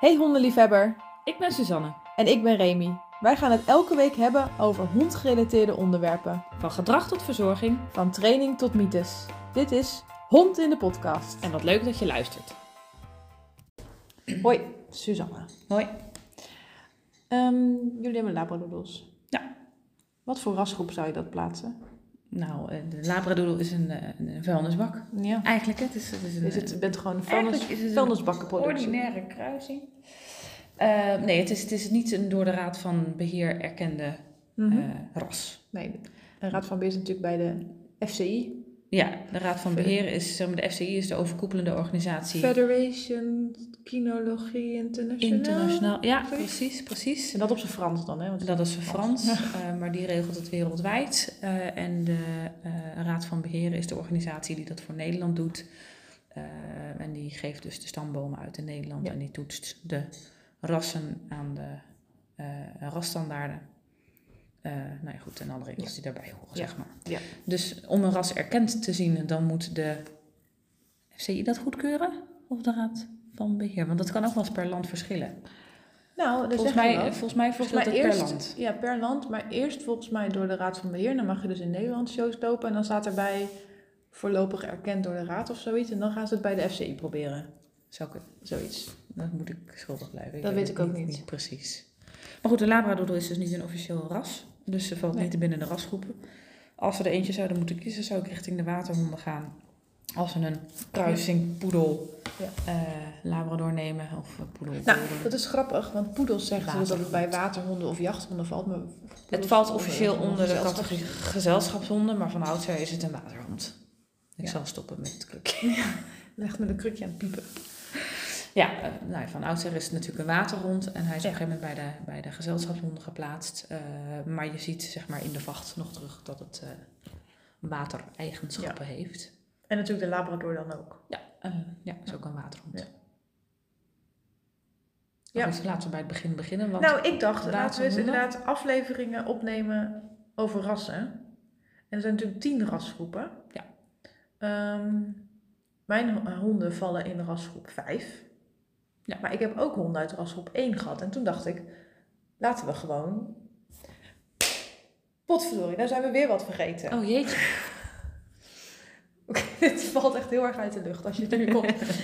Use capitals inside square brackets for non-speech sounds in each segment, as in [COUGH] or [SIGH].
Hey hondenliefhebber Ik ben Suzanne, en ik ben Remy. Wij gaan het elke week hebben over hondgerelateerde onderwerpen, van gedrag tot verzorging van training tot mythes. Dit is Hond in de podcast. en wat leuk dat je luistert. Hoi, Suzanne. Hoi. Ehm, jullie hebben labradoodles. Ja. Wat voor rasgroep zou je dat plaatsen? Nou, eh, de labradoodle is een, eh, een vuilnisbak. Ja. Eigenlijk, hè, het is, het is een, eh, Is het, je bent gewoon een vuilnis, eigenlijk is het een vuilnisbakkenproductie. ordinaire kruising. Eh, nee, het is, het is niet een door de Raad van Beheer erkende Mhm. eh, ras. Nee, de Raad van Beheer is natuurlijk bij de FCI. Ja, de Raad van Beheer is, zeg maar, de FCI is de overkoepelende organisatie. Federation Kinologie International. Internationaal. Ja, Zoiets. precies, precies. En dat op zijn Frans dan, hè? Want Dat is voor Frans, [LAUGHS] eh, maar die regelt het wereldwijd. Eh, en de eh, Raad van Beheer is de organisatie die dat voor Nederland doet. Eh, en die geeft dus de stambomen uit in Nederland Ja. en die toetst de rassen aan de eh, rasstandaarden. Eh, nou ja, goed, en alle regels die daarbij horen, Ja. zeg maar. Ja. Dus om een ras erkend te zien, dan moet de FCI dat goedkeuren? Of de Raad van Beheer? Want dat kan ook wel eens per land verschillen. Nou, dat Volgens zeg je mij, eh, wat. volgens mij verschilt het per land. Ja, per land. Maar eerst volgens mij door de Raad van Beheer. Dan mag je dus in Nederland shows lopen. En dan staat erbij voorlopig erkend door de Raad of zoiets. En dan gaan ze het bij de FCI proberen. Zou ik, Zoiets. dat moet ik schuldig blijven. Dat weet ik het ook niet. Precies. Maar goed, de labradoodle is dus niet een officieel ras. Dus ze valt Nee. niet binnen de rasgroepen. Als we er eentje zouden moeten kiezen, zou ik richting de waterhonden gaan. Als we een kruising poedel Ja. eh, labrador nemen. Of eh, poedel. Nou, golden. dat is grappig. Want poedels zeggen ze dus dat het bij Waterhond. waterhonden of jachthonden valt. Maar poedels het valt vallen officieel onder onder de gezelschap. categorie gezelschapshonden. Maar van oudsher is het een waterhond. Ik Ja. zal stoppen met het krukje. Leg me een krukje aan het piepen. Ja, eh, nou, ja, van oudsher is het natuurlijk een waterhond. En hij is Ja. op een gegeven moment bij de, bij de gezelschapshonden geplaatst. Eh, maar je ziet zeg maar, in de vacht nog terug dat het eh, watereigenschappen heeft. En natuurlijk de Labrador dan ook. Ja, eh, ja, is ook een waterhond. Ehm, Ja. Ja. Ja. laten we bij het begin beginnen. Want Nou, ik dacht, laten we eens waterhonden? inderdaad afleveringen opnemen over rassen. En er zijn natuurlijk tien rasgroepen. Ja. Ehm, mijn ho- eh, honden vallen in rasgroep 5. Ja. Maar ik heb ook honden uit rasgroep 1 gehad. En toen dacht ik, laten we gewoon... Potverdorie, nou zijn we weer wat vergeten. [LAUGHS] Oh jeetje. Oh. Oké, [LAUGHS] dit valt echt heel erg uit de lucht als je het [LAUGHS] nu komt. [LAUGHS]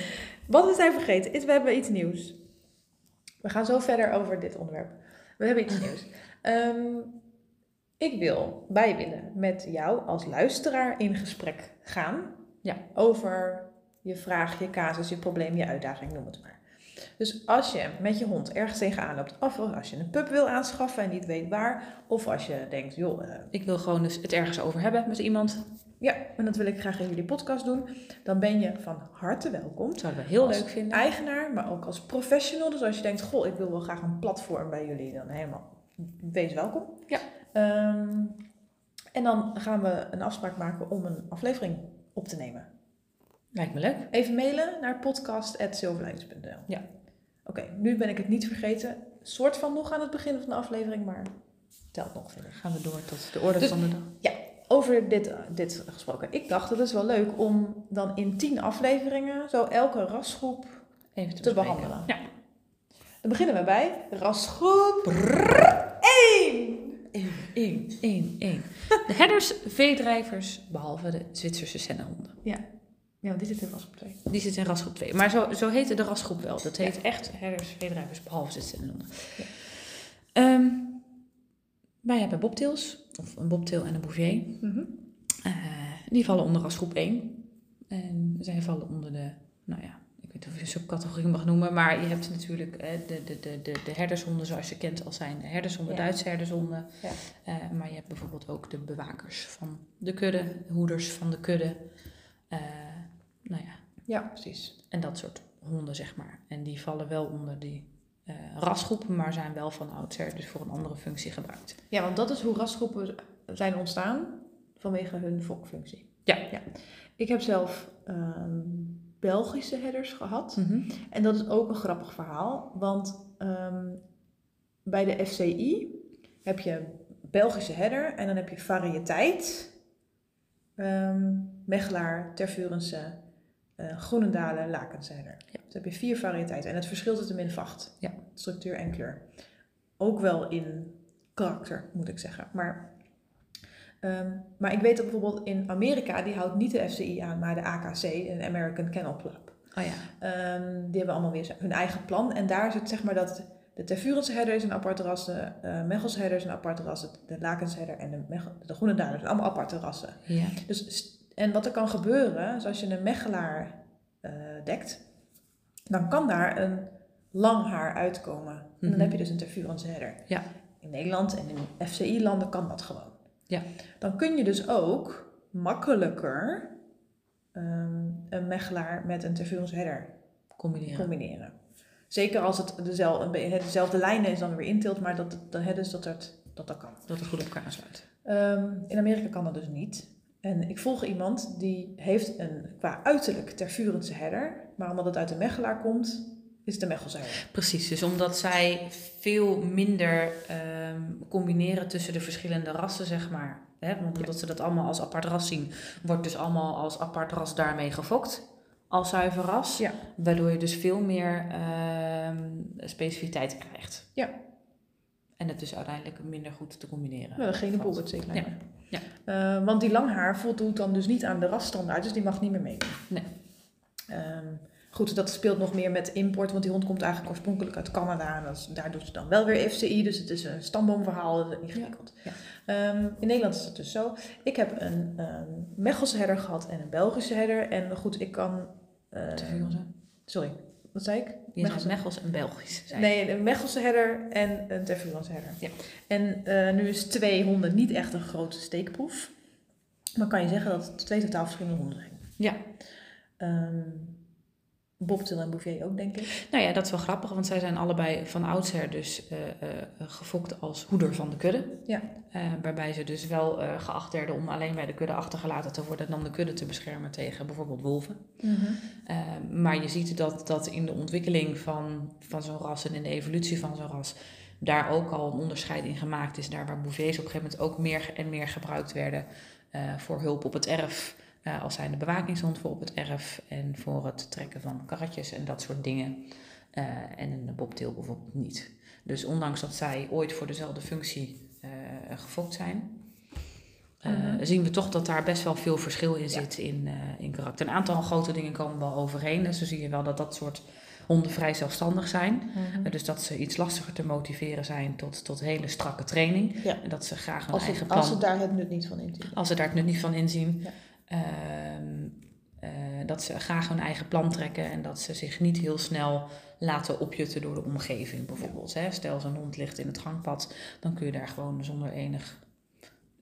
Wat we zijn vergeten is, we hebben iets nieuws. We gaan zo verder over dit onderwerp. We hebben iets nieuws. Ehm, ik wil bij willen met jou als luisteraar in gesprek gaan. Ja. Over je vraag, je casus, je probleem, je uitdaging, noem het maar. Dus als je met je hond ergens tegenaan loopt, of als je een pup wil aanschaffen en niet weet waar, of als je denkt, joh, eh, Ik wil gewoon dus het ergens over hebben met iemand. ja, en dat wil ik graag in jullie podcast doen. Dan ben je van harte welkom. Dat zouden we heel Als leuk vinden. Eigenaar, maar ook als professional. Dus als je denkt, goh, ik wil wel graag een platform bij jullie, dan helemaal wees welkom. Ja. Ehm, en dan gaan we een afspraak maken om een aflevering op te nemen. Lijkt me leuk. Even mailen naar podcast.zilverlijns.nl Ja. Oké, nu ben ik het niet vergeten. Soort van nog aan het begin van de aflevering, maar telt nog verder. Gaan we door tot de orde Dus- van de dag. Over dit, eh, dit gesproken. Ik dacht, het is wel leuk om dan in tien afleveringen zo elke rasgroep Even te, te bespreken. behandelen. Ja. Dan beginnen we bij rasgroep 1. 1, 1, 1. De herders, veedrijvers, behalve de Zwitserse sennenhonden. Ja, want dit zit in rasgroep 2. Die zit in rasgroep 2. Maar zo, zo heette de rasgroep wel. Dat heet echt herders, veedrijvers, behalve de sennenhonden. Ehm, wij hebben bobtails, of een bobtail en een bouvier. Mhm. Eh, die vallen onder rasgroep 1. En zij vallen onder de, nou ja, ik weet niet of je een subcategorie mag noemen, maar je hebt natuurlijk eh, de, de, de, de, de herdershonden zoals je kent als zijn de herdershonden, Ja. Duitse herdershonden. Ja. Eh, maar je hebt bijvoorbeeld ook de bewakers van de kudde, hoeders van de kudde. Eh, nou ja, Ja, precies. en dat soort honden, zeg maar. En die vallen wel onder die eh, rasgroepen, maar zijn wel van oudsher dus voor een andere functie gebruikt. Ja, want dat is hoe rasgroepen zijn ontstaan vanwege hun volkfunctie. Ja. ja. Ik heb zelf ehm, Belgische herders gehad. En dat is ook een grappig verhaal, want ehm, bij de FCI heb je Belgische herder en dan heb je variëteit. Ehm Mechelaar, Tervurense eh, Groenendalen lakens zijn er. Ja. Dus heb je vier variëteiten. En het verschilt zit hem in vacht. Ja. Structuur en kleur. Ook wel in karakter, moet ik zeggen. Maar, ehm, maar ik weet dat bijvoorbeeld in Amerika, die houdt niet de FCI aan, maar de AKC, een American Kennel Club. Oh ja. Ehm, die hebben allemaal weer z- hun eigen plan. En daar zit zeg maar dat de Tervurense herder is een apart ras, de eh Mechelse herder is een apart ras, de- de Lakense herder en de, Mech- de Groenendalers zijn allemaal aparte rassen. Ja. Dus, st- en wat er kan gebeuren, is als je een mechelaar eh, dekt, dan kan daar een lang haar uitkomen. En Mhm. dan heb je dus een Tervurense herder. Ja. In Nederland en in FCI-landen kan dat gewoon. Ja. Dan kun je dus ook makkelijker ehm, een mechelaar met een Tervurense herder Combineren. combineren. Zeker als het dezelfde, een be- dezelfde lijnen is dan weer intilt, maar dat, dat, hè, dus dat, het, dat dat kan. Dat het goed op elkaar sluit. Ehm, in Amerika kan dat dus niet. En ik volg iemand die heeft een qua uiterlijk tervurense herder, maar omdat het uit de Mechelaar komt, is het de Mechelse herder. Precies, dus omdat zij veel minder ehm, combineren tussen de verschillende rassen, zeg maar. Hè? want Omdat ze dat allemaal als apart ras zien, wordt dus allemaal als apart ras daarmee gefokt. Als zuiver ras. Ja. Waardoor je dus veel meer ehm specificiteit krijgt. Ja. En het dus uiteindelijk minder goed te combineren. Wel een genepool Eh, valt. wordt zeker. Ja. kleiner. Ja. Eh, want die langhaar voldoet dan dus niet aan de rasstandaard, dus die mag niet meer meedoen. Nee. Ehm, goed, dat speelt nog meer met import, want die hond komt eigenlijk oorspronkelijk uit Canada. En dat is- daar doet ze dan wel weer FCI, dus het is een stamboomverhaal, dat is ingewikkeld. Ja. Ehm, in Nederland is dat dus zo. Ik heb een ehm Mechelse herder gehad en een Belgische herder. En goed, ik kan... eh, Te veel zo. Sorry, wat zei ik? Je zegt Mechels en Belgisch. zei je. Nee, een Mechelse herder en een Tervurense herder. Ja. En eh, nu is twee honden niet echt een grote steekproef. Maar kan je zeggen dat het twee totaal verschillende honden zijn. Ja. Ehm Bobtail en Bouvier ook, denk ik. Nou ja, dat is wel grappig, want zij zijn allebei van oudsher dus eh, eh, gefokt als hoeder van de kudde. Ja. Eh, waarbij ze dus wel eh, geacht werden om alleen bij de kudde achtergelaten te worden en dan de kudde te beschermen tegen bijvoorbeeld wolven. Eh, maar je ziet dat, dat in de ontwikkeling van, van zo'n ras en in de evolutie van zo'n ras daar ook al een onderscheid in gemaakt is. Daar waar bouviers op een gegeven moment ook meer en meer gebruikt werden eh, voor hulp op het erf. eh, als zijnde bewakingshond voor op het erf en voor het trekken van karretjes en dat soort dingen. Eh, en een bobtail bijvoorbeeld niet. Dus ondanks dat zij ooit voor dezelfde functie eh, gefokt zijn, eh, Mhm. zien we toch dat daar best wel veel verschil in zit in, eh, in karakter. Een aantal grote dingen komen wel overeen. Dus dan zie je wel dat dat soort honden vrij zelfstandig zijn. Mhm. Eh, Mm-hmm. Dus dat ze iets lastiger te motiveren zijn tot, tot hele strakke training. Ja. En dat ze graag hun Als, eigen het, plan... als ze daar het nut niet van in zien. als ze daar het nut niet van inzien. Ja. Ehm, eh, dat ze graag hun eigen plan trekken en dat ze zich niet heel snel laten opjutten door de omgeving bijvoorbeeld. Hè? Stel zo'n hond ligt in het gangpad, dan kun je daar gewoon zonder enig...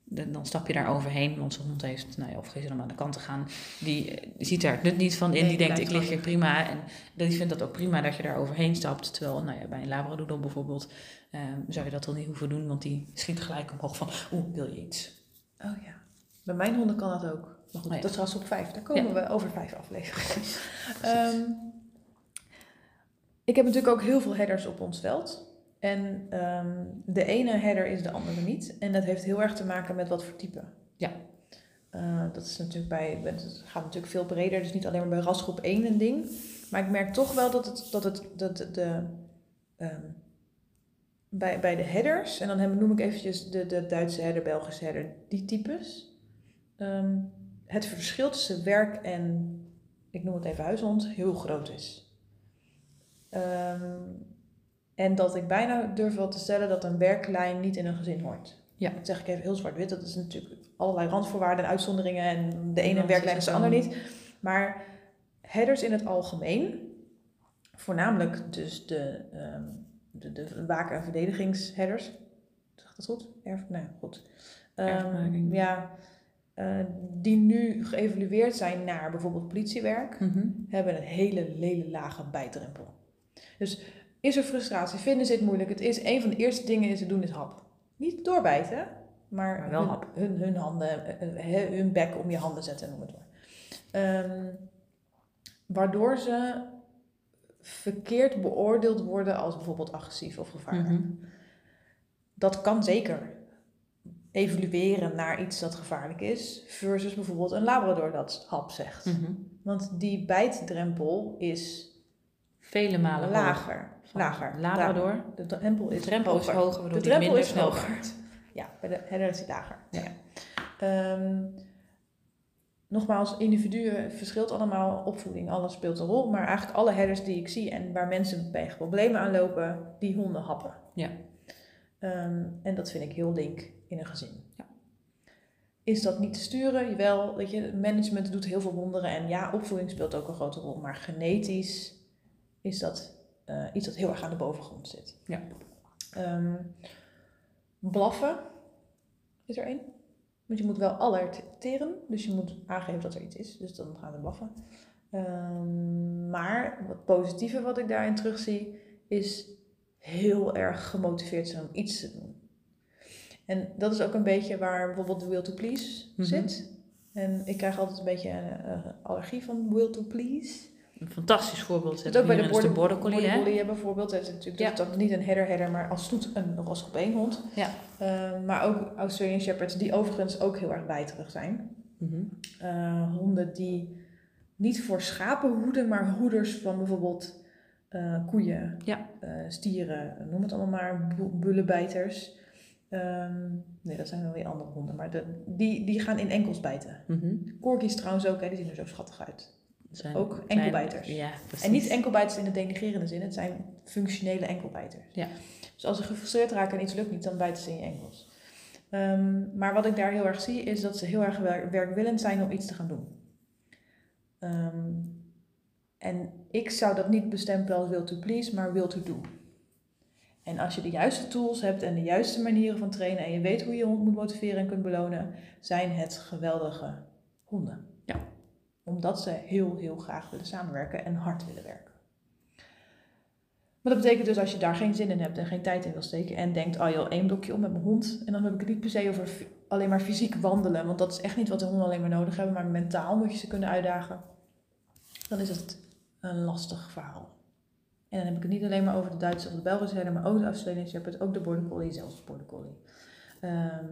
Dan dan stap je daar overheen, want zo'n hond heeft, nou ja, of gisteren om aan de kant te gaan, die eh, ziet daar het nut niet van in. Nee, die denkt, ik blijft lig hier prima. En die vindt dat ook prima dat je daar overheen stapt. Terwijl, nou ja, bij een labradoodle bijvoorbeeld, eh, zou je dat dan niet hoeven doen, want die schiet gelijk omhoog van, oeh, wil je iets? Oh ja. Bij mijn honden kan dat ook. Maar goed, Oh ja. dat is ras op vijf. Daar komen Ja. we over vijf afleveringen. Ehm, ik heb natuurlijk ook heel veel headers op ons veld. En ehm, de ene header is de andere niet. En dat heeft heel erg te maken met wat voor type. Ja. Eh, dat is natuurlijk bij, het gaat natuurlijk veel breder. Dus niet alleen maar bij rasgroep 1 een ding. Maar ik merk toch wel dat het, dat het dat de, de, ehm, bij, bij de headers, en dan heb- noem ik eventjes de, de Duitse header, Belgische header, die types. ehm, het verschil tussen werk en, ik noem het even huishond, heel groot is. Ehm, en dat ik bijna durf wel te stellen dat een werklijn niet in een gezin hoort. Ja. Dat zeg ik even heel zwart-wit. Dat is natuurlijk allerlei randvoorwaarden en uitzonderingen. En de ene dan werklijn is is de het ander dan- niet. Maar headers in het algemeen, voornamelijk dus de, ehm de, de waken- en verdedigingsheaders. Zag dat goed? Erf, nee, goed. Ehm, Erfbewaking. ja, eh, die nu geëvalueerd zijn naar bijvoorbeeld politiewerk, Mhm, hebben een hele, hele lage bijdrempel. Dus is er frustratie, vinden ze het moeilijk? Het is een van de eerste dingen die ze doen is hap. Niet doorbijten, maar, Maar wel hun, hap. Hun, hun handen, eh, eh, hun bek om je handen zetten, noem het maar. Ehm, waardoor ze verkeerd beoordeeld worden als bijvoorbeeld agressief of gevaarlijk. Mhm. Dat kan zeker Mhm. evolueren naar iets dat gevaarlijk is, versus bijvoorbeeld een labrador dat hap zegt. Want die bijtdrempel is Vele malen hoger. lager. Van Lager. Labrador. lager. De drempel De is drempel is hoger. hoger, waardoor De die drempel minder is snel hoger. gaat. Ja, bij de herder is die lager. Ja. Ja. Ehm, nogmaals, individuen verschilt allemaal, opvoeding, alles speelt een rol. Maar eigenlijk alle herders die ik zie en waar mensen tegen problemen aan lopen, die honden happen. Ja. Ehm, en dat vind ik heel link in een gezin. Ja. Is dat niet te sturen? Jawel, weet je, management doet heel veel wonderen. En ja, opvoeding speelt ook een grote rol. Maar genetisch is dat eh, iets dat heel erg aan de bovengrond zit. Ja. Ehm, blaffen is er één. Want je moet wel alerteren, dus je moet aangeven dat er iets is. Dus dan gaan we blaffen. Ehm, maar wat positieve wat ik daarin terugzie, is heel erg gemotiveerd zijn om iets te doen. En dat is ook een beetje waar bijvoorbeeld de will to please Mhm. zit. En ik krijg altijd een beetje een eh, allergie van will to please. Een fantastisch voorbeeld. Dat heb ook bij je de hier border, is border collie, hè? bijvoorbeeld. Dat is natuurlijk Ja. dat is dan niet een herder-herder, maar als stoet een rosse beenhond. Ja. Eh, maar ook Australian Shepherds, die overigens ook heel erg bijterig zijn. Mhm. Eh, honden die niet voor schapen hoeden, maar hoeders van bijvoorbeeld eh, koeien, Ja. eh, stieren, noem het allemaal maar, bu- bullenbijters. Ehm, nee, dat zijn wel weer andere honden, maar de, die, die gaan in enkels bijten. Mhm. Corgis trouwens ook, hè, die zien er zo schattig uit. Dat zijn Ook kleine- enkelbijters. Ja, precies. En niet enkelbijters in de denigrerende zin, het zijn functionele enkelbijters. Ja. Dus als ze gefrustreerd raken en iets lukt niet, dan bijten ze in je enkels. Ehm, maar wat ik daar heel erg zie, is dat ze heel erg wer- werkwillend zijn om iets te gaan doen. Ehm, en ik zou dat niet bestempelen als will to please, maar will to do. En als je de juiste tools hebt en de juiste manieren van trainen en je weet hoe je hond moet motiveren en kunt belonen, zijn het geweldige honden. Ja. Omdat ze heel, heel graag willen samenwerken en hard willen werken. Maar dat betekent dus als je daar geen zin in hebt en geen tijd in wil steken en denkt, oh joh, één blokje om met mijn hond. En dan heb ik het niet per se over f- alleen maar fysiek wandelen, want dat is echt niet wat de honden alleen maar nodig hebben, maar mentaal moet je ze kunnen uitdagen. Dan is het een lastig verhaal. En dan heb ik het niet alleen maar over de Duitse of de Belgische herder, maar ook de Australische Shepherd, ook de Border Collie, zelfs de Border Collie. Ehm,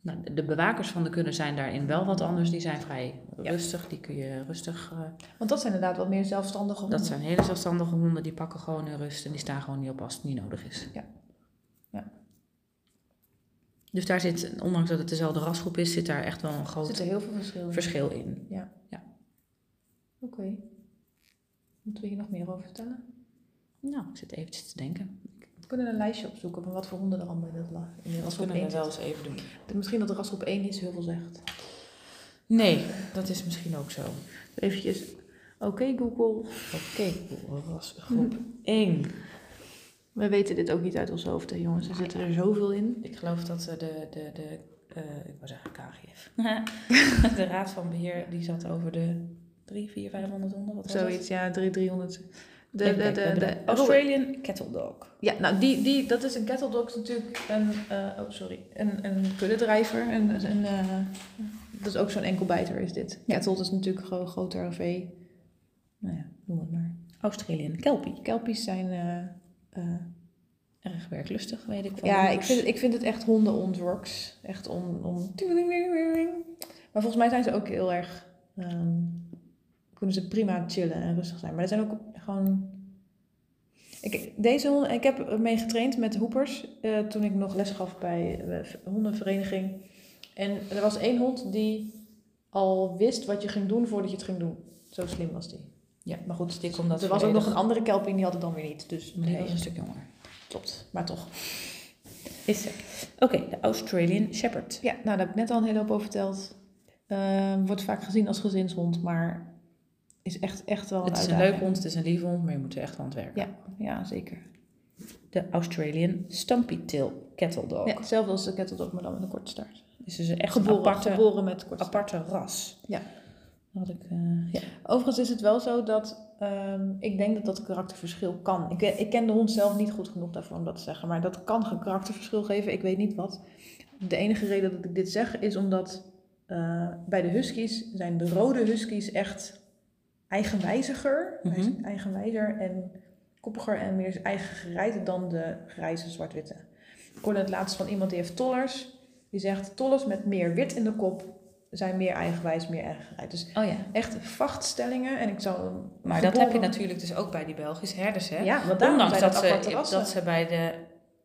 Nou, de- de bewakers van de kunnen zijn daarin wel wat anders. Die zijn vrij Ja. rustig. Die kun je rustig... eh, want dat zijn inderdaad wat meer zelfstandige honden. dat zijn hele zelfstandige honden. Die pakken gewoon hun rust. En die staan gewoon niet op als het niet nodig is. Ja. Ja. Dus daar zit, ondanks dat het dezelfde rasgroep is, zit daar echt wel een Er groot zitten heel veel verschillen. in. verschil in. Oké. Moeten we hier nog meer over vertellen? Nou, ik zit eventjes te denken. We kunnen een lijstje opzoeken van wat voor honden er allemaal in het la- in de rasgroep kunnen 1 we wel zitten. eens even doen. Misschien dat de rasgroep 1 niet zo heel veel zegt. Nee, dat is misschien ook zo. Eventjes. Oké Google. Oké, [LAUGHS] rasgroep 1. We weten dit ook niet uit ons hoofd hè, jongens. Er zitten er zoveel in. Ik geloof dat eh, de, de, de eh, ik wou zeggen KGF. [LAUGHS] de raad van beheer, die zat over de 3, 4, 500 honden. Wat was Zoiets, ja. 3300. De, het? de, Ik de, denk de, dat de, Oh, bedoel- Australian Cattle Dog. Ja, nou, die, die, dat is een cattle dog, is natuurlijk een, eh, oh sorry, een, een kuddedrijver. Een, een, eh, dat is ook zo'n enkelbijter is dit. Cattle is natuurlijk gewoon een groot RV. Nou ja, noem het maar. Australian Kelpie. Kelpies zijn, eh, eh, Erg werklustig, weet ik van. ja, Hoenders. ik vind, ik vind het echt honden ontworks. Echt om, om... Maar volgens mij zijn ze ook heel erg, ehm, kunnen ze prima chillen en rustig zijn. Maar er zijn ook gewoon... Ik, deze honden, ik heb mee getraind met hoepers eh, toen ik nog les gaf bij eh, hondenvereniging. En er was één hond die al wist wat je ging doen voordat je het ging doen. Zo slim was die. Ja, maar goed, Dik omdat er was ook nog een andere kelpie en die had het dan weer niet. Dus Maar die nee, was een stuk jonger. klopt. Maar toch. Is ze. Oké, de Australian Shepherd. Ja, nou, daar heb ik net al een hele hoop over verteld. Ehm, wordt vaak gezien als gezinshond, maar is echt, echt wel een Het is een uitdaging. leuk hond, het is een lieve hond, maar je moet er echt aan het werken. Ja, ja zeker. De Australian Stumpy Tail Cattle Dog. Ja, hetzelfde als de kettle dog, maar dan met een korte staart. Dus het is echt geboren, een aparte, geboren met korte staart. aparte ras. Ja. Had ik, eh, ja. Overigens is het wel zo dat ehm, ik denk dat dat karakterverschil kan. Ik, ik ken de hond zelf niet goed genoeg daarvoor om dat te zeggen, maar dat kan een karakterverschil geven. Ik weet niet wat. De enige reden dat ik dit zeg is omdat eh, bij de huskies zijn de rode huskies echt eigenwijziger, Mhm. Hij is eigenwijzer en koppiger en meer eigen gereid dan de grijze zwart-witte. Ik hoorde het laatst van iemand die heeft tollers. Die zegt tollers met meer wit in de kop zijn meer eigenwijs, meer eigenheid. Dus Oh ja. echt vachtstellingen. En ik zal een Maar dat heb je geboren- natuurlijk dus ook bij die Belgische herders, hè? Ja, want daarom Ondanks zijn dat dat aparte ze, rassen. dat ze bij de...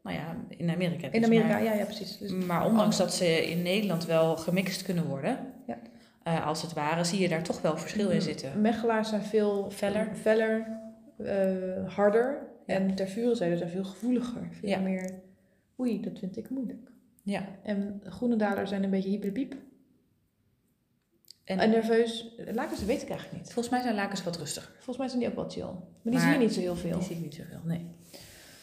Nou ja, in Amerika. In dus, Amerika, maar- ja, ja, precies. Dus, Maar ondanks dat ze in Nederland wel gemixt kunnen worden, Ja. eh, als het ware, zie je daar toch wel verschil in zitten. Mechelaars zijn veel Mm. Feller. feller, eh, harder. En ter vuren zijn veel gevoeliger. Veel Ja. meer, oei, dat vind ik moeilijk. Ja. En groenendalers zijn een beetje hyperbiep. En, En nerveus. Lakers weet ik eigenlijk niet. volgens mij zijn lakens wat rustiger. Volgens mij zijn die ook wel chill. Maar die Maar- zie je niet zo heel veel. Die zie ik niet zoveel, nee.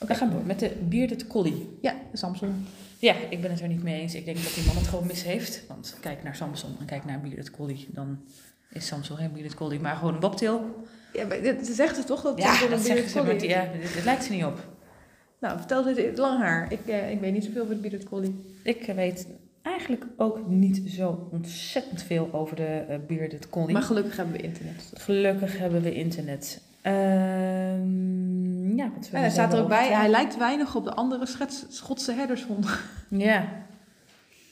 Oké, we gaan door met de bearded collie. Ja, Samson. Ja, ik ben het er niet mee eens. Ik denk dat die man het gewoon mis heeft. Want kijk naar Samson en kijk naar bearded collie. Dan is Samson geen bearded collie, maar gewoon een bobtail. Ja, maar dit- ze zegt het toch dat Ja, Samson dat een zeggen bearded ze, maar collie die, is? ja, het, het lijkt ze niet op. Nou, vertel ze dit lang haar. Ik, eh, ik weet niet zoveel van de bearded collie. Ik weet eigenlijk ook niet zo ontzettend veel over de eh, bearded collie. Maar gelukkig hebben we internet. Gelukkig hebben we internet. Ehm, ja, wat En hij staat er ook bij. Hij Ja. lijkt weinig op de andere schets- Schotse herdershonden. ja,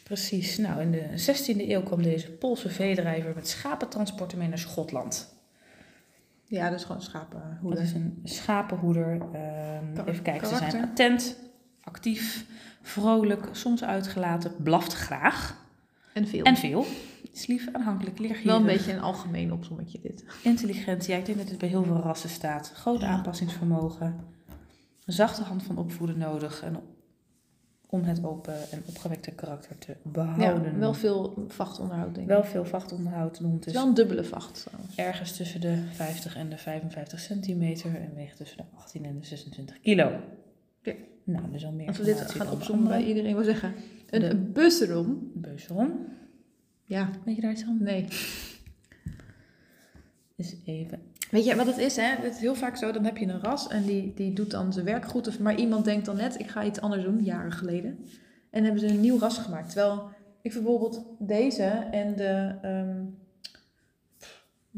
precies. Nou, in de 16e eeuw kwam deze Poolse veedrijver met schapentransporten mee naar Schotland. Ja, dat is gewoon schapen. Dat is een schapenhoeder. Ehm, Kar- even kijken, ze zijn karakter. attent, actief, vrolijk, soms uitgelaten, blaft graag. En veel. En veel. Is lief, aanhankelijk, leergierig. Wel een beetje een algemeen opzommetje dit. Intelligent, ja, ik denk dat het bij heel veel rassen staat. Groot aanpassingsvermogen. Een zachte hand van opvoeden nodig. En om het open en opgewekte karakter te behouden. Ja, wel veel vachtonderhoud denk ik. Wel veel vachtonderhoud. De hond het is is wel een dubbele vacht. trouwens. ergens tussen de 50 en de 55 centimeter. En weegt tussen de 18 en de 26 kilo. Ja. Nou, dus al meer Als we dit informatie gaan dan de opzommen bij andere. iedereen, wil zeggen. De- Een, een busserom. Beuzerom. Ja, Weet je daar iets van? nee. Is even... Weet je wat het is, hè? Het is heel vaak zo, dan heb je een ras en die, die doet dan zijn werk goed. Of, maar iemand denkt dan net, ik ga iets anders doen, jaren geleden. En hebben ze een nieuw ras gemaakt. Terwijl ik vind bijvoorbeeld deze en de... ehm,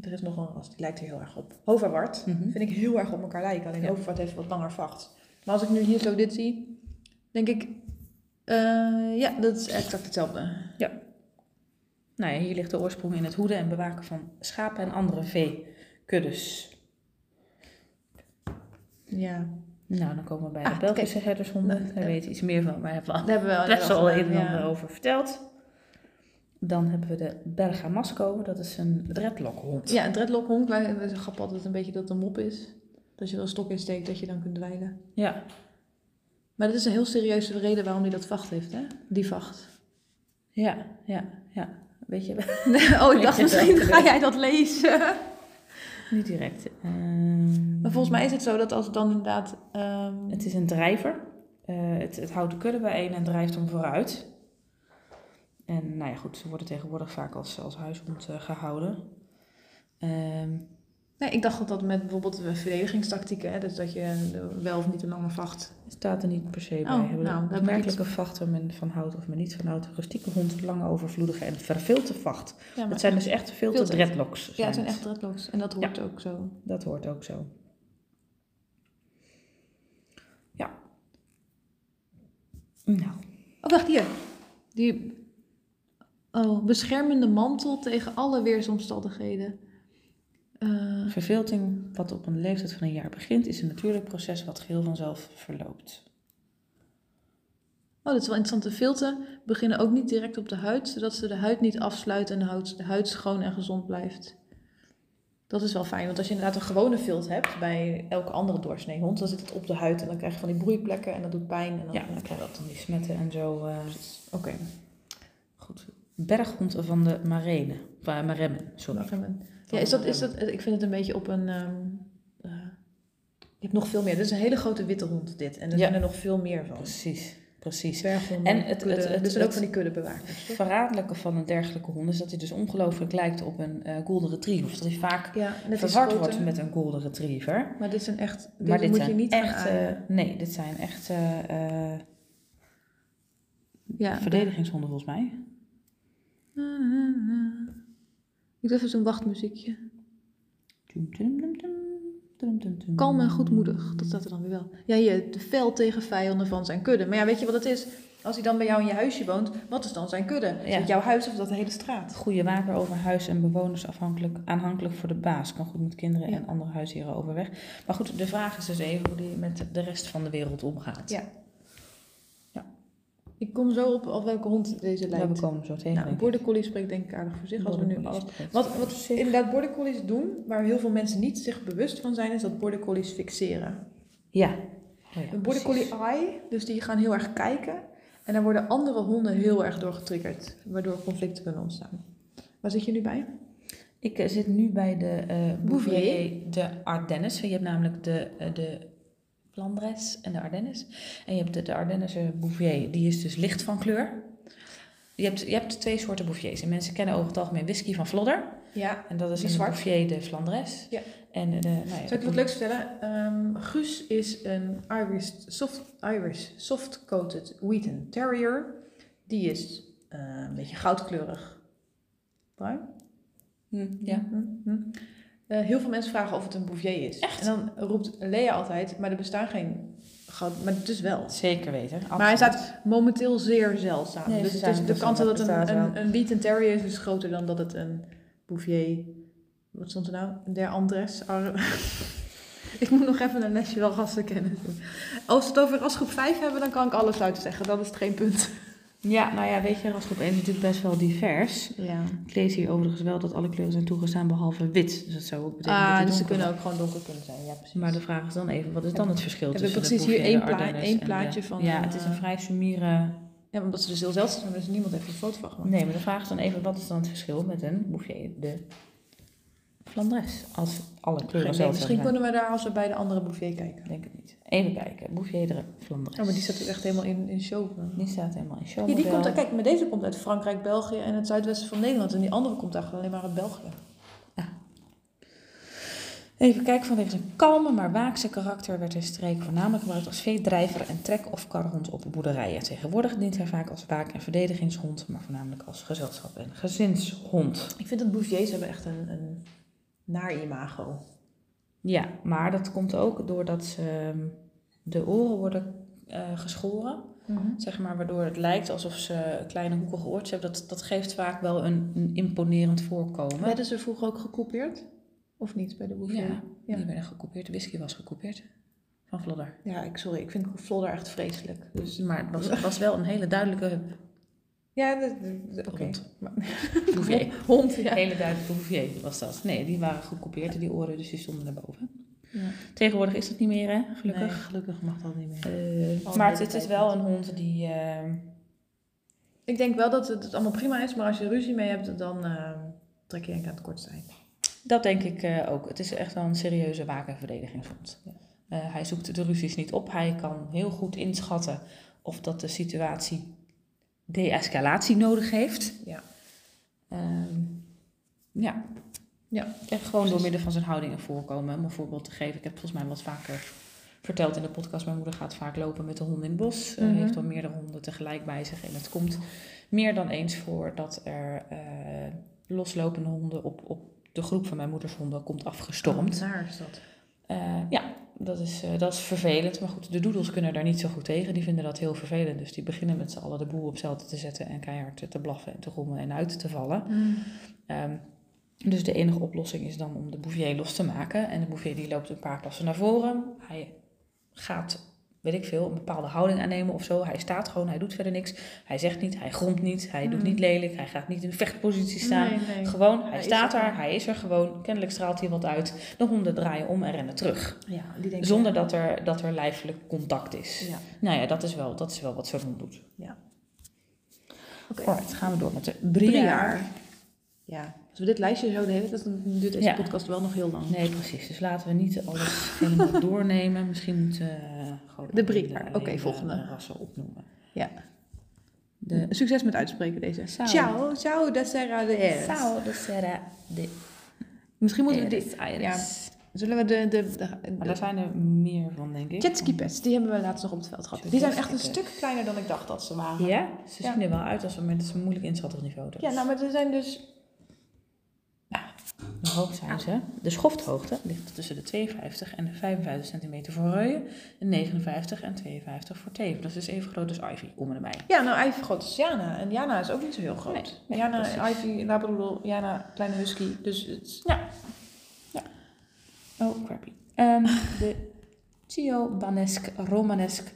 er is nog een ras, die lijkt er heel erg op. Hoverwart. Mhm. Vind ik heel erg op elkaar lijken. Alleen Ja. Hoverwart heeft wat langer vacht. Maar als ik nu hier zo dit zie, denk ik... eh, ja, dat is exact hetzelfde. Nou ja, hier ligt de oorsprong in het hoeden en bewaken van schapen en andere veekuddes. Ja, Nou, dan komen we bij de Ah, Belgische herdershonden. Nou, Daar eh, weet je iets meer van, maar hebben we daar al hebben we al best wel gedaan, een en ja. ander over verteld. Dan hebben we de Bergamasco, dat is een dreadlockhond. Ja, een dreadlockhond. Wij dat is een grap altijd een beetje dat het een mop is. Dat als je er een stok in steekt, dat je dan kunt dweilen. Ja, Maar dat is een heel serieuze reden waarom hij dat vacht heeft, hè? Die vacht. [LAUGHS] ja, ja, ja. Weet je, [LAUGHS] oh, ik dacht je wel. misschien ga jij dat lezen. niet direct. Ehm, Maar volgens mij is het zo dat als het dan inderdaad... ehm, Het is een drijver. Eh, het, het houdt de kudde bijeen en drijft hem vooruit. En nou ja, goed, ze worden tegenwoordig vaak als, als huishond eh, gehouden. Ehm, Nee, ik dacht dat dat met bijvoorbeeld eh, verdedigingstactieken, hè? Dus dat je eh, wel of niet een lange vacht... Staat er niet per se bij. Oh, hebben nou, een dat opmerkelijke vacht waar men van houdt of men niet van houdt. Rustieke hond, lange overvloedige en verveelte vacht. Ja, maar- Dat zijn dus echt veel te Veelte. dreadlocks. Ja, het zijn zijn echt dreadlocks. En dat hoort ook zo. Dat hoort ook zo. Ja. Nou, Oh, wacht, hier. Die... Oh, beschermende mantel tegen alle weersomstandigheden. Eh, verveelting wat op een leeftijd van een jaar begint... is een natuurlijk proces wat geheel vanzelf verloopt. Oh, dat is wel interessant. De vilten beginnen ook niet direct op de huid, zodat ze de huid niet afsluiten en de huid, de huid schoon en gezond blijft. Dat is wel fijn, want als je inderdaad een gewone vilt hebt bij elke andere doorsnee hond, dan zit het op de huid en dan krijg je van die broeiplekken en dat doet pijn. En dan, eh, Ja, dan krijg je dat dan die smetten en zo. eh, Oké, goed. Berghond van de Marene. eh, Maremmen, sorry. wacht even. Ja, is dat, is dat, ik vind het een beetje op een... ehm, eh, je hebt nog veel meer. Dit is een hele grote witte hond, dit. En er Ja. zijn er nog veel meer van. Precies, precies. Dwerghonden, En het- kudde. het- het- er zijn ook het- van die kuddenbewakers. toch? verraderlijke van een dergelijke hond is dat hij dus ongelooflijk lijkt op een eh, golden retriever. Of dat hij vaak Ja, net als verward grote. wordt met een golden retriever. Maar dit zijn echt... Dit maar dit moet zijn je niet gaan echt... aaien. eh, nee, dit zijn echt eh, eh, ja, verdedigingshonden volgens mij. Ik doe even zo'n wachtmuziekje. Tum, tum, tum, tum, tum, tum, tum. Kalm en goedmoedig, dat staat er dan weer wel. Ja, hier, de fel tegen vijanden van zijn kudde. Maar ja, weet je wat het is? Als hij dan bij jou in je huisje woont, wat is dan zijn kudde? Is Ja. het jouw huis of dat de hele straat? Goede waker over huis en bewoners afhankelijk, aanhankelijk voor de baas. Kan goed met kinderen Ja. en andere huisdieren overweg. Maar goed, de vraag is dus even hoe die met de rest van de wereld omgaat. Ja. Ik kom zo op, op welke hond deze Maar we lijkt. komen zo tegen. Nou, een denk ik. border collie spreekt denk ik aardig voor zich als we nu Border alles collies. Wat, wat inderdaad border collies doen, waar heel veel mensen niet zich bewust van zijn, is dat border collies fixeren. Ja. Oh ja, een border collie precies. eye, dus die gaan heel erg kijken. En daar worden andere honden heel erg door getriggerd, waardoor conflicten kunnen ontstaan. Waar zit je nu bij? Ik eh, zit nu bij de eh Bouvier. Bouvier de Ardennes. Je hebt namelijk de, eh, de Flandres en de Ardennes. En je hebt de, de Ardennese Bouvier, die is dus licht van kleur. Je hebt, je hebt twee soorten Bouviers. En mensen kennen over het algemeen whisky van Vlodder. Ja. En dat is Die een zwart. Bouvier de Flandres. Ja. En eh, de, nou ja, Zou ik je wat leuks vertellen? Ehm, Guus is een Irish soft, Irish soft-coated Wheaton Terrier. Die is eh, een beetje goudkleurig. Bruin? Hm, ja. Hm, hm. Eh, heel veel mensen vragen of het een Bouvier is. Echt? En dan roept Lea altijd, maar er bestaan geen goud, maar het is wel. Zeker weten. Maar hij absoluut. staat momenteel zeer zeldzaam. Nee, dus ze het is zijn de best kans wel- dat het bestaan een, ze een, een Wheaton Terrier is, is groter dan dat het een Bouvier... Wat stond er nou? Der Andres. Ar- [LAUGHS] ik moet nog even een lesje wel rassen kennen. Als we het over rasgroep 5 hebben, dan kan ik alles uitzeggen. Dat is het geen punt. Ja, nou ja, weet je, rasgroep 1 is natuurlijk best wel divers. Ja. Ik lees hier overigens wel dat alle kleuren zijn toegestaan behalve wit. Dus dat zou ook betekenen dat Ah, die dus ze donker kunnen ook gewoon donker kunnen zijn. Ja, precies. Maar de vraag is dan even, wat is dan het verschil Hebben we tussen precies de hier Bouvier, de één pla- Ardennes één en de- plaatje van, Ja, eh, het is een vrij summiere... Ja, omdat ze dus heel zeldzaam zijn, dus niemand heeft een foto van gemaakt. Nee, maar de vraag is dan even, wat is dan het verschil met een Bouvier de Flandres? Als alle kleuren Nee, zelf misschien zijn. kunnen we daar als we bij de andere Bouvier kijken. Ik denk het niet. Even kijken, Bouvier de Flandres. Oh, maar die staat ook echt helemaal in, in show. Die staat helemaal in show. Ja, die komt, kijk, maar deze komt uit Frankrijk, België en het zuidwesten van Nederland. En die andere komt eigenlijk alleen maar uit België. Even kijken vanwege zijn kalme maar waakse karakter werd hij streek voornamelijk gebruikt als veedrijver en trek- of karhond op boerderijen. Tegenwoordig dient hij vaak als waak- en verdedigingshond, maar voornamelijk als gezelschap- en gezinshond. Ik vind dat Bouviers hebben echt een, een naar imago. Ja, maar dat komt ook doordat ze, ehm, de oren worden eh, geschoren, Mhm. zeg maar, waardoor het lijkt alsof ze kleine hoekige oortjes hebben. Dat, dat geeft vaak wel een, een imponerend voorkomen. Werden ze vroeger ook gekopieerd? Of niet bij de Bouvier? Ja, Ja. die werden gekopieerd. De whisky was gekopieerd van Vlodder. Ja, ik, sorry, ik vind Vlodder echt vreselijk. Dus, maar het was, het was wel een hele [LAUGHS] duidelijke Ja, dat- dat- oké. Hond. Maar- [LAUGHS] Bouvier. Hond, ja. hele duidelijke Bouvier was dat. Nee, die waren gekopieerd en die oren, dus die stonden daarboven. Ja. Tegenwoordig is dat niet meer, hè? Nee, Gelukkig. gelukkig mag dat niet meer. Eh, Al maar een het, het is hele wel een hond die... eh, Ik denk wel dat het, het allemaal prima is, maar als je ruzie mee hebt, dan eh, trek je denk ik aan het kortste eind. dat denk ik eh, ook. Het is echt wel een serieuze waak- en verdedigingshond. Eh, hij zoekt de ruzies niet op. Hij kan heel goed inschatten of dat de situatie de-escalatie nodig heeft. Ja. Ehm, ja. Ja. Echt gewoon door middel van zijn houding en voorkomen. Om een voorbeeld te geven. Ik heb het volgens mij wat vaker verteld in de podcast. Mijn moeder gaat vaak lopen met de honden in het bos. Eh, Mhm. Heeft dan meerdere honden tegelijk bij zich. En het komt meer dan eens voor dat er eh, loslopende honden op, op de groep van mijn moeders honden komt afgestormd. Naar is dat. Eh, ja, dat is, eh, dat is vervelend. Maar goed, de doedels kunnen daar niet zo goed tegen. Die vinden dat heel vervelend. Dus die beginnen met z'n allen de boel op zelte te zetten en keihard te blaffen en te rommelen en uit te vallen. Ehm, dus de enige oplossing is dan om de Bouvier los te maken. En de Bouvier die loopt een paar passen naar voren. Hij gaat, weet ik veel, een bepaalde houding aannemen of zo. Hij staat gewoon, hij doet verder niks. Hij zegt niet, hij gromt niet, hij doet Mhm. niet lelijk, hij gaat niet in vechtpositie staan. Nee, nee. Gewoon, Mm. hij, Hij is staat er daar, gewoon. hij is er gewoon. Kennelijk straalt hij wat uit. De honden draaien om en rennen terug. Ja, die denk ik- Zonder dat er, dat er lijfelijk contact is. Ja. Nou ja, dat is wel, dat is wel wat zo'n hond doet. Oké. Alright, gaan we door met de Briaar. Briaar. Ja, als we dit lijstje zo de hele tijd, dan duurt deze Ja. podcast wel nog heel lang. Nee, precies. Dus laten we niet alles [LAUGHS] helemaal doornemen. Misschien moeten we eh, gewoon... De Briaar. alleen Oké, de- volgende. de rassen opnoemen. Ja. De Succes met uitspreken deze. Ciao. Ciao, ciao, da Serra de Eres. Sao de Serra de Misschien moeten we dit... Eres. Aires. Zullen we de... de, de, Maar daar zijn er meer van, denk ik. Jetski Pets, die hebben we laatst nog op het veld gehad. Die zijn echt een stuk kleiner dan ik dacht dat ze waren. Ja, Ja, ze Ja. zien er wel uit als we met een moeilijk inschattig niveau. nou, maar ze zijn dus... Zo hoog zijn ze. De schofthoogte ligt tussen de 52 en de 55 centimeter voor reuien. En 59 en 52 voor teven. Dat is dus even groot als Ivy. Kom erbij. Ja, nou Ivy groot is Jana. En Jana is ook niet zo heel groot. Nee, nee, Jana, precies. Ivy, Labrador, Jana, kleine husky. Dus het is- Oh, crappy. [LAUGHS] Ehm, de Tiobanesk Romanesk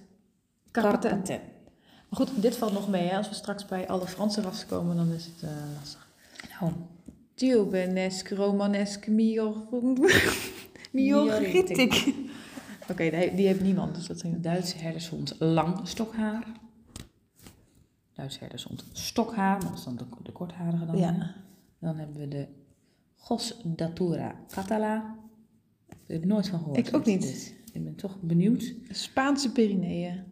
Carpaten. Carpaten. Maar goed, dit valt nog mee. Hè? Als we straks bij alle Franse rassen komen, dan is het eh, lastig. Nou, Tiobenesk, Romanesk, Mior... [LAUGHS] Miorritic. Oké, die, he- die heeft niemand, dus dat zijn we. Duitse herdershond lang stokhaar. Duitse herdershond stokhaar, maar dat is dan de, de kortharige dan. Ja. hè. Dan hebben we de Gos datura catala. Daar heb ik nooit van gehoord. Ik ook niet. Dus ik ben toch benieuwd. Spaanse Pyreneeën.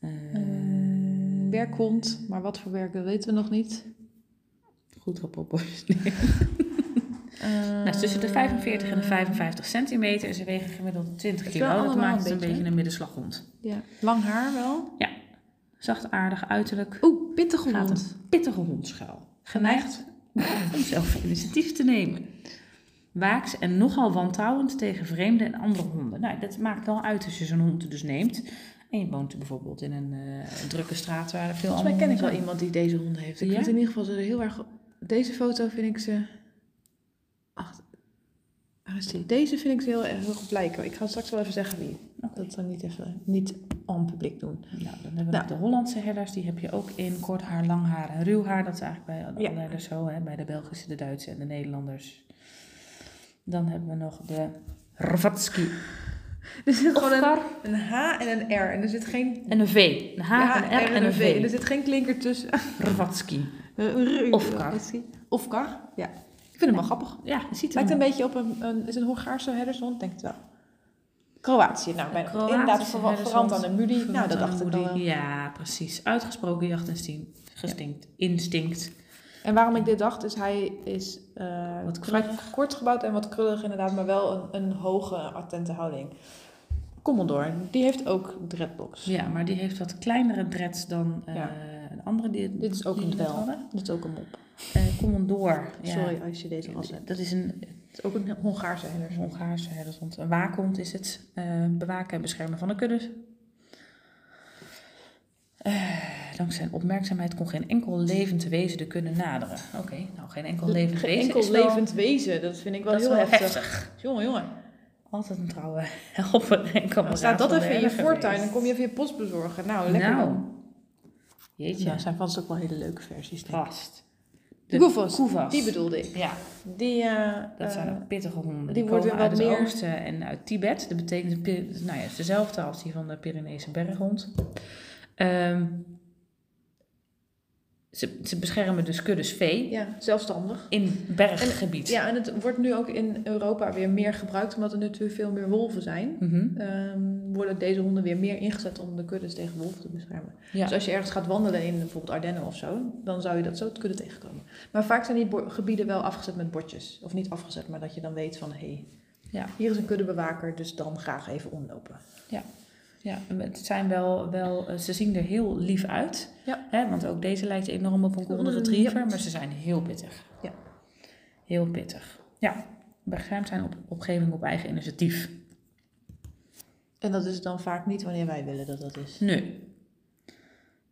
Eh, Eh, Werkhond, maar wat voor werken weten we nog niet. goed geproportioneerd. [LAUGHS] Eh, Nou, tussen de 45 en de 55 centimeter en ze wegen gemiddeld 20 Het is kilo. wel Dat allemaal een maakt het een beetje. beetje een middenslaghond. Ja. Lang haar wel. Zacht aardig uiterlijk. Oeh, pittige Gaat hond. een pittige hondschuil. Geneigd [LAUGHS] om zelf initiatief te nemen. Waaks en nogal wantrouwend tegen vreemden en andere honden. Nou, dat maakt wel uit als je zo'n hond dus neemt. En je woont bijvoorbeeld in een eh, drukke straat waar veel Volgens mij andere ken ik honden wel iemand die deze hond heeft. Ik Ja? vind in ieder geval ze er heel erg... Deze foto vind ik ze... Ach, waar is die? Deze vind ik ze heel erg heel goed lijken. Ik ga straks wel even zeggen wie. Dat dan niet even niet aan publiek doen. zijn. Nou, dan hebben we Nou. de Hollandse herders. Die heb je ook in kort haar, lang haar en ruw haar. Dat is eigenlijk bij alle Ja. herders zo. Hè? Bij de Belgische, de Duitse en de Nederlanders. Dan hebben we nog de Rvatski. [LAUGHS] Er zit Ofkar een H en een R. En er zit geen en een V. Een H, een R en een V. zit geen klinker tussen. [LAUGHS] Rvatski. Ofkar. Ofkar. Ofkar, ja. Ik vind hem wel grappig. Ja, het ziet er Lijkt een een beetje op een, een is een Hongaarse herdershond, denk het wel. Kroatië, nou bijna. Kroatische Inderdaad, verwa- verwant aan herdershond. een mudi. Nou, verwant dat aan dacht een ik al moedie. wel. Ja, precies. Uitgesproken jachtinstinct. Gestinct. Instinct. En waarom ik dit dacht, is hij is eh, Wat vrij krullig. kort gebouwd en wat krullig inderdaad, maar wel een, een hoge, attente houding. Commodore, die heeft ook dreadlocks. Ja, maar die heeft wat kleinere dreads dan eh, Ja. een andere die Dit is ook die een we net dwel. hadden. Dat is ook een mop. Eh, Commodore. Ja. Sorry als je deze ras hebt. Dat is een Het is ook een Hongaarse herdershond. Hongaarse herdershond. Een waakhond is het. eh, bewaken en beschermen van de kudde. Eh, dankzij zijn opmerkzaamheid kon geen enkel levend wezen de kudde naderen. Oké, nou geen enkel levend Geen wezen. enkel is wel- levend wezen, dat vind ik wel dat is heel wel heftig. heftig. Jongen, jongen. Altijd een trouwe [LAUGHS] helper en Dan kameraad. staat dat van de even in je herder voortuin, geweest. dan kom je even je post bezorgen. Nou, lekker nou, dan. jeetje, Ja, Nou, zijn vast ook wel hele leuke versies. denk ik. vast. De koevas, koevas. Die bedoelde ik. Ja, Die, eh, dat zijn eh, ook pittige honden. Die, die worden komen uit wat het meer- oosten en uit Tibet. Dat betekent, pi- nou ja, het is dezelfde als die van de Pyreneese berghond. Ehm, ze, ze beschermen dus kuddes vee ja, zelfstandig. in berggebied. Ja, en het wordt nu ook in Europa weer meer gebruikt, omdat er natuurlijk veel meer wolven zijn. Mhm. Ehm, worden deze honden weer meer ingezet om de kuddes tegen wolven te beschermen. Ja. Dus als je ergens gaat wandelen in bijvoorbeeld Ardennen of zo, dan zou je dat zo het kudde tegenkomen. Maar vaak zijn die bo- gebieden wel afgezet met bordjes. Of niet afgezet, maar dat je dan weet van hé, hey, Ja. hier is een kuddebewaker, dus dan graag even omlopen. Ja, het zijn wel, wel, eh, ze zien er heel lief uit. Ja. Hè, want ook deze lijkt enorm op een golden Mm, retriever, ja. maar ze zijn heel pittig. Ja. Heel pittig. Ja, beschermd zijn op opgeving op eigen initiatief. En dat is dan vaak niet wanneer wij willen dat dat is. Nu,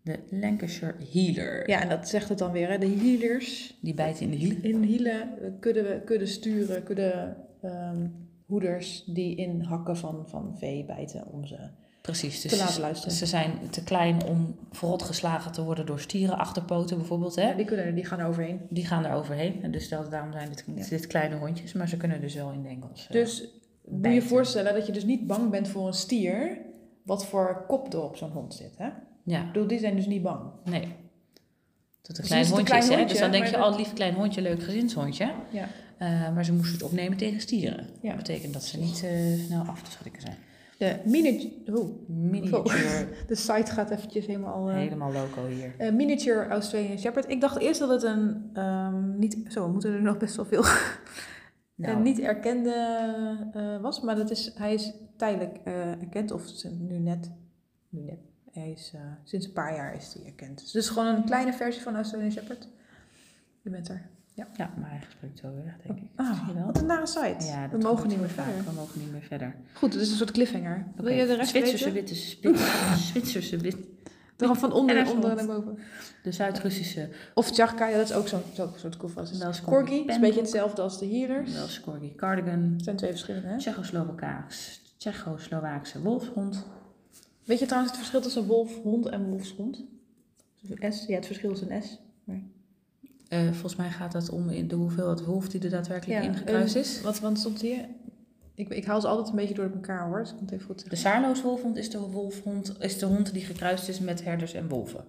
de Lancashire Healer. Ja, en dat zegt het dan weer, hè? de healers. Die bijt in de hielen. In hielen eh, kudde, kudde sturen, kudde ehm, hoeders die in hakken van, van vee bijten om ze Precies, dus te laten ze, luisteren. ze zijn te klein om verrot geslagen te worden door stieren, achterpoten bijvoorbeeld. Hè? Ja, die, kunnen, er- die gaan er overheen. Die gaan er overheen. En dus dat, daarom zijn dit, dit kleine hondjes, maar ze kunnen dus wel in de enkels. eh, Dus moet je bijten. voorstellen dat je dus niet bang bent voor een stier, wat voor kop er op zo'n hond zit. Hè? Ik ja. bedoel, die zijn dus niet bang. Nee. Dat een Dus klein is het een hondje klein is, hè? hondje, Dus dan denk maar je, dat- al lief klein hondje, leuk gezinshondje. Ja. Eh, maar ze moesten het opnemen tegen stieren. Ja. Dat betekent dat ze niet eh, snel af te schrikken zijn. De miniature, oh, Miniature, [LAUGHS] de site gaat eventjes helemaal... eh, helemaal loco hier. eh, miniature Australian Shepherd. Ik dacht eerst dat het een ehm, niet... Zo, we moeten er nog best wel veel Nou, en niet erkende eh, was, maar dat is, hij is tijdelijk eh, erkend, of ze- nu net. Nu net. Hij is, eh, sinds een paar jaar is hij erkend. Dus het is gewoon een kleine versie van Australian Shepherd. Je bent er. Ja. ja maar hij spreekt zo weer weg, denk ik. Misschien Ah, wel. wat een nare site. Ja, we dat mogen gebeurt niet meer heel vaak. verder. We mogen niet meer verder. Goed, dus het is een soort cliffhanger. Wil je de rest weten? Zwitserse witte spits. [LAUGHS] Zwitserse wit. Dan van onder naar En naar onder grond. naar boven. De Zuid-Russische. [LAUGHS] Of Tjarka, ja, dat is ook zo'n zo'n soort koelvast. Wel eens Corgi is een beetje pembroek, hetzelfde als de healers. Wel eens corgi cardigan. Het zijn twee verschillende, hè? Tsjechoslowaaks, Tsjechoslowaakse wolfhond. Weet je trouwens het verschil tussen wolfhond en wolfshond? Dus Een S, ja, het verschil is een S. Eh, volgens mij gaat dat om in de hoeveelheid wolf die er daadwerkelijk Ja, ingekruist is. Want, want stond hier... Ik, ik haal ze altijd een beetje door elkaar, hoor. Dus ik moet even goed De zeggen. Saarloos wolfhond is de, wolfhond, is de hond die gekruist is met herders en wolven.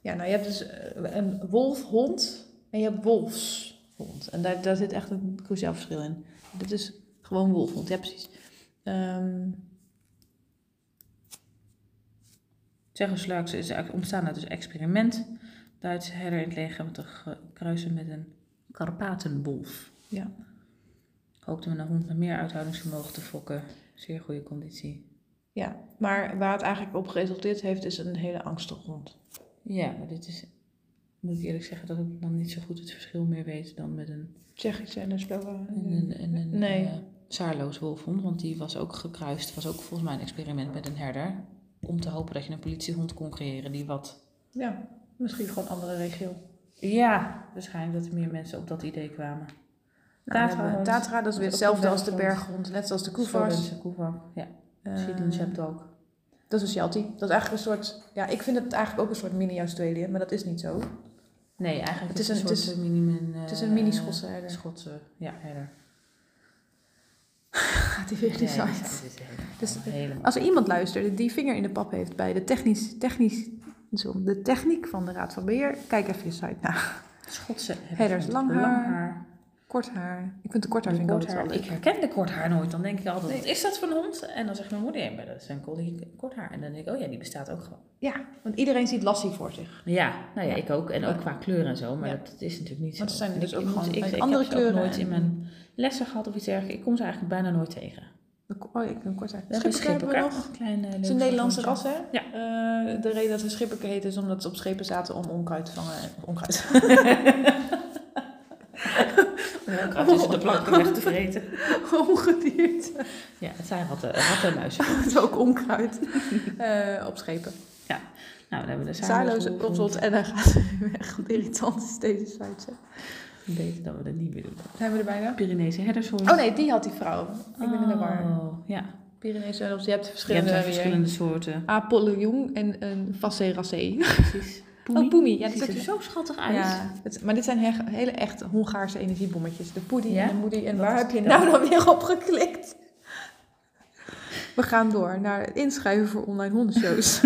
Ja, nou, je hebt dus eh, een wolfhond en je hebt wolfshond. En daar, daar zit echt een cruciaal verschil in. Dit is gewoon wolfhond, ja, precies. Ehm, Tsjechoslowaakse is eigenlijk ontstaan uit een experiment. Duitse herder in het leger met een ge- kruisen met een Karpatenwolf. Ja. Hoopte met een hond met meer uithoudingsvermogen te fokken. Zeer goede conditie. ja, maar waar het eigenlijk op geresulteerd heeft, is een hele angstige hond. Ja, maar dit is... Moet ik eerlijk zeggen dat ik dan niet zo goed het verschil meer weet dan met een Tsjechische en een Slova. En een, en een Nee. eh, zaarloos wolfhond, want die was ook gekruist. was ook volgens mij een experiment met een herder. Om te hopen dat je een politiehond kon creëren die wat... Ja, misschien gewoon andere regio. Ja, waarschijnlijk dat er meer mensen op dat idee kwamen. Tatra, Tatrahond. Tatra, dat is weer Dat is hetzelfde ook als de een berghond. berghond, net zoals de koevers. Slovense koevak. Ja, Eh, Shetland Sheepdog. dat is een Sheltie. Dat is eigenlijk een soort, ja, ik vind het eigenlijk ook een soort mini-Australië, maar dat is niet zo. Nee, eigenlijk Het het is is het een- een, het soort is- mini... Een, het is een mini-Schotse herder. Schotse, ja, herder. Gaat [LAUGHS] die [LAUGHS] weer die Nee, dit site. is- dit is helemaal- Dus- helemaal- Als er iemand luistert die vinger in de pap heeft bij de, technisch, technisch, zo, de techniek van de Raad van Beheer, kijk even de site na. Schotse Herders, met lang haar. Kort haar. Ik vind de kort haar vind ik Kort altijd wel haar. Ik leuk. herken de kort haar nooit. Dan denk ik altijd, Nee. wat is dat voor een hond? En dan zegt mijn moeder, ja, maar dat is een collie kort haar. En dan denk ik, oh ja, die bestaat ook gewoon. Ja, want iedereen ziet Lassie voor zich. Ja, nou ja, ik ook. En ook Ja. qua kleur en zo. Maar Ja. dat, dat is natuurlijk niet zo. Want er zijn En dus ik- ook ik moet- gewoon ik, met ik andere heb ze ook kleuren nooit in en- mijn lessen gehad of iets dergelijks. Ik kom ze eigenlijk bijna nooit tegen. De ko- Oh, ik een kort haar. We hebben Schipperke hebben we schipperken. nog. Klein, eh, Het is leuk een Nederlandse vogel. ras, hè? Ja. Eh, de reden dat ze schipperke heet is omdat ze op schepen zaten om onkruid te vangen. en- [LAUGHS] Onkruid. Ja, ik had tussen de planken [LAUGHS] weg te vreten. [LAUGHS] Ongedierte. Ja, het zijn ratten, ratten en muizen. [LAUGHS] Het is ook [LAUGHS] onkruid eh, op schepen. Nou, dan hebben we de Zaarloze wolf. opzot en dan gaat [LAUGHS] ze weer weg. Wat irritant is deze site. zeg. Beter dat we dat niet meer doen. Zijn we er bijna? Pyrenese herdershond. Oh nee, die had die vrouw. Ik ben in de war. Oh, Ja, Pyreneese herfst, je hebt je hebt verschillende. daar weer. verschillende soorten. Apolloon en een Vassé Rassé. Precies. Oh, Poemie. Ja, Ja, dat die is ziet er ook zo schattig uit. ja, het- maar dit zijn he- hele echt Hongaarse energiebommetjes. De poedie Ja? en de moedie. En Wat waar is heb je dat? nou [LAUGHS] dan weer op geklikt? We gaan door naar het inschrijven voor online hondenshows.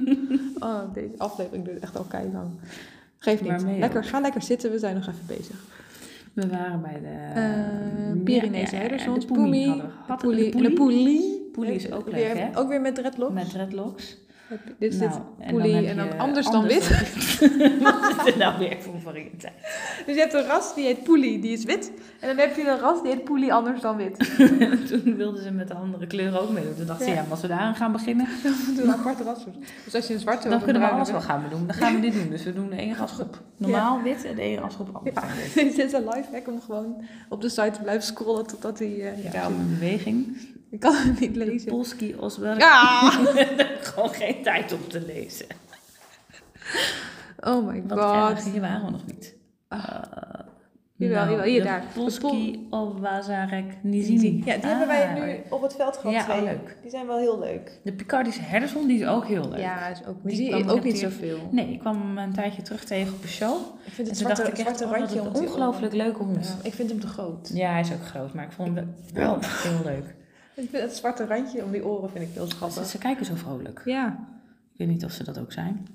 [LAUGHS] oh, deze aflevering duurt echt al keihard lang. Geeft niet. Maar mee, Lekker, ga lekker zitten, we zijn nog even bezig. We waren bij de... Eh Pyreneese herdershond, de poemie, hadden we de gehad. En poelie. De poelie. Poelie is ook weer, leuk, hè? Ook weer met dreadlock. Met dreadlocks. Dit is Nou, dit poelie en heb dan, eh, je anders dan wit. [LAUGHS] [LAUGHS] Wat is er nou weer voor variëteit? Dus je hebt een ras die heet Poelie, die is wit. En dan heb je een ras die heet Poelie anders dan [LAUGHS] wit. [LAUGHS] Toen wilden ze met de andere kleuren ook meedoen. Toen dachten ze, Ja. ja, maar als we daar aan gaan beginnen, Doe een apart ras. Dus als je een zwarte dan of een kunnen we bruine alles wel gaan we doen. Dan gaan we dit doen. Dus we doen de ene rasgroep normaal wit en de ene rasgroep anders. Ja, dan wit. [LAUGHS] dit is een lifehack om gewoon op de site te blijven scrollen totdat hij... eh, Ja, om een beweging. ik kan het niet lezen. Polski Oswald. Ja! [LAUGHS] Gewoon geen tijd om te lezen. Oh my Wat erg, Eh, god. Ah. hier waren we nog niet. Jawel, Nou, jawel, hier, de daar. Polski Owazarek Nizini. Ja, die hebben wij nu op het veld gehad. Ja, oh, twee. leuk. Die zijn wel heel leuk. Ah, De Picardische herdershond, die is ook heel leuk. is ook, Die kwam ik natuurlijk- zoveel. Nee, ik kwam hem een tijdje terug tegen op een show. Ik vind En het toen zwarte, dacht ik echt, zwarte oh, wat randje een om die ongelooflijk leuke oren. hond. Ja, Ja. ik vind hem te groot. hij is ook groot, maar ik vond hem wel heel leuk. Ik vind het zwarte randje om die oren vind ik heel Ze, schattig. ze kijken zo vrolijk. Ja. Ik weet niet of ze dat ook zijn.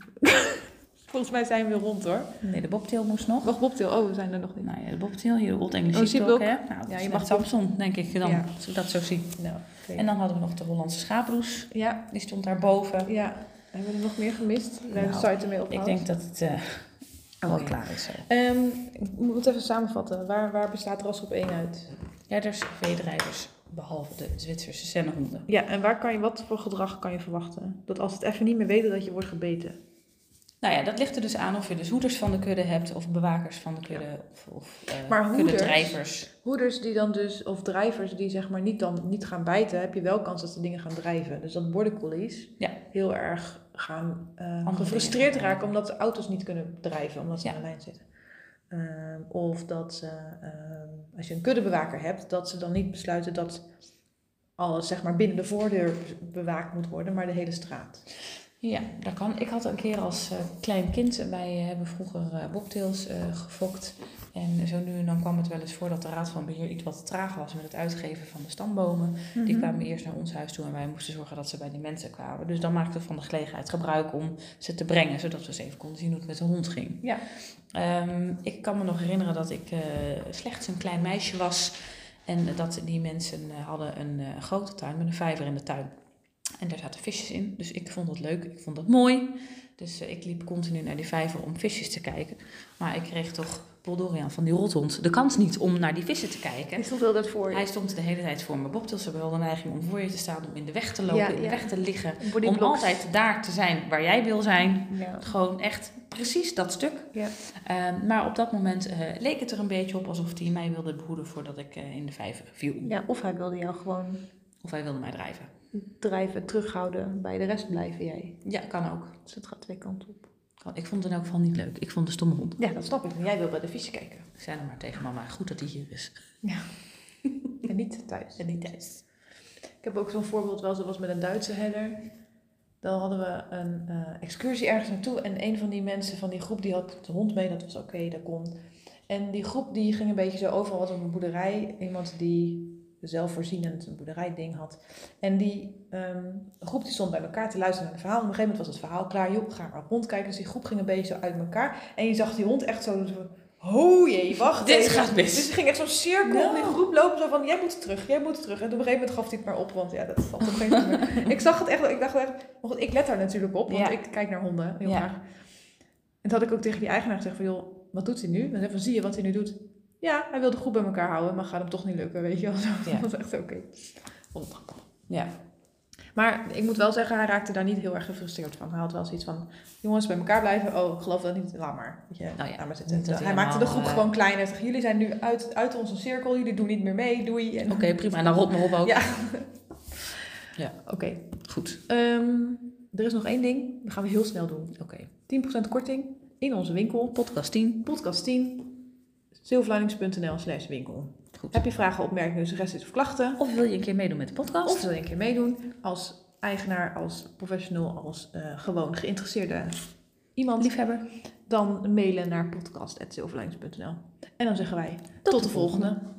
Volgens mij zijn we weer rond hoor. Nee, de bobtail moest nog. Wacht, Bobtail. Oh, we zijn er nog niet. Nou ja, de bobtail hier, de Old English Oh, Sheepdog. Sheepdog. hè? Nou, Ja, ja, je je mag mag Samson, denk ik dan, Ja. als ik dat zo zie. Nou, En dan hadden we nog de Hollandse schaaproes. ja, Die stond daarboven. ja. Hebben we er nog meer gemist? We hebben de Nou, site ermee Ik opgehaald. denk dat het eh, wel Oké. klaar is zo. Ehm, ik moet het even samenvatten. Waar, waar bestaat ras op één uit? Herders, veedrijders, behalve de Zwitserse sennenhonden. Ja, en waar kan je, wat voor gedrag kan je verwachten? Dat als het even niet meer weet dat je wordt gebeten. Nou ja, dat ligt er dus aan of je dus hoeders van de kudde hebt of bewakers van de kudde of, of eh, Maar hoeders- kuddedrijvers. Hoeders die dan dus, of drijvers die zeg maar niet, dan, niet gaan bijten, heb je wel kans dat ze dingen gaan drijven. Dus dat border collies Ja. heel erg gaan eh, dingen gaan gefrustreerd doen. raken omdat de auto's niet kunnen drijven, omdat ze Ja. aan de lijn zitten. Ehm, of dat ze, ehm, als je een kuddebewaker hebt, dat ze dan niet besluiten dat alles zeg maar binnen de voordeur bewaakt moet worden, maar de hele straat. Ja, dat kan. Ik had een keer als eh, klein kind, en wij eh, hebben vroeger eh bobtails eh, gefokt. En zo nu en dan kwam het wel eens voor dat de Raad van Beheer iets wat traag was met het uitgeven van de stambomen. Mhm. Die kwamen eerst naar ons huis toe en wij moesten zorgen dat ze bij die mensen kwamen. Dus dan maakten we van de gelegenheid gebruik om ze te brengen, zodat we eens even konden zien hoe het met de hond ging. Ja. Ehm, ik kan me nog herinneren dat ik eh, slechts een klein meisje was. En dat die mensen eh, hadden een eh, grote tuin met een vijver in de tuin. En daar zaten visjes in. Dus ik vond dat leuk, ik vond dat mooi. Dus eh, ik liep continu naar die vijver om visjes te kijken. Maar ik kreeg toch, Boldorian van die rothond, de kans niet om naar die vissen te kijken. stond wel dat voor Hij stond de hele tijd voor me. Bobtails hebben wel de neiging om voor je te staan, om in de weg te lopen, Ja, in de ja. weg te liggen. Om Bodyblocks. altijd daar te zijn waar jij wil zijn. Ja. Gewoon echt precies dat stuk. Ja. Ehm, maar op dat moment eh, leek het er een beetje op alsof hij mij wilde behoeden voordat ik eh, in de vijver viel. ja, of hij wilde jou gewoon Of hij wilde mij drijven. drijven, terughouden, bij de rest blijven jij. Ja, kan ook. Dus het gaat twee kanten op. Kan- Ik vond het in elk geval niet leuk. Ik vond de stomme hond. Ja, dat snap ik. Maar jij wil bij de visje kijken. Ik zei dan maar tegen mama, goed dat hij hier is. En niet thuis. En niet thuis. Ik heb ook zo'n voorbeeld wel, dat was met een Duitse herder. Dan hadden we een eh, excursie ergens naartoe en een van die mensen van die groep die had de hond mee, dat was oké, dat kon. En die groep die ging een beetje zo overal was op een boerderij. Iemand die zelfvoorzienend een boerderijding had. En die ehm, groep die stond bij elkaar te luisteren naar het verhaal. En op een gegeven moment was het verhaal klaar. Joh, ga maar rondkijken. Dus die groep ging een beetje zo uit elkaar. En je zag die hond echt zo... zo Oh jee, wacht [LAUGHS] Dit even. gaat mis. Dus ze ging echt zo'n cirkel om die Nou. groep lopen. Zo van, jij moet terug, jij moet terug. En op een gegeven moment gaf hij het maar op. Want ja, dat valt op geen meer. Ik zag het echt. Ik dacht echt, maar goed, ik let daar natuurlijk op. Want Ja. ik kijk naar honden heel Ja. graag. En toen had ik ook tegen die eigenaar gezegd van... joh, wat doet hij nu? En hij zei van, zie je wat hij nu doet? Ja, hij wil de groep bij elkaar houden, maar gaat hem toch niet lukken, weet je wel. [LAUGHS] Zo, Ja. Dat was echt oké. Ja. Maar ik moet wel zeggen, hij raakte daar niet heel erg gefrustreerd van. Hij had wel zoiets van, jongens, bij elkaar blijven. Oh, ik geloof dat niet, laat maar. Weet je, Nou ja, laat maar zitten. niet dat hij helemaal, maakte de groep eh, gewoon kleiner. Hij zegt, jullie zijn nu uit, uit onze cirkel, jullie doen niet meer mee, doei. En... Oké, prima. En dan rot me op ook. Ja. Ja. Oké, Goed. ehm, er is nog één ding, dat gaan we heel snel doen. Oké. 10% korting in onze winkel. Podcast 10. Podcast 10, zilverlinings.nl slash winkel. Goed. Heb je vragen, opmerkingen, suggesties of klachten? Of wil je een keer meedoen met de podcast? Of wil je een keer meedoen als eigenaar, als professional, als eh, gewoon geïnteresseerde iemand? liefhebber. Dan mailen naar podcast.zilverlijns.nl. En dan zeggen wij tot, de volgende.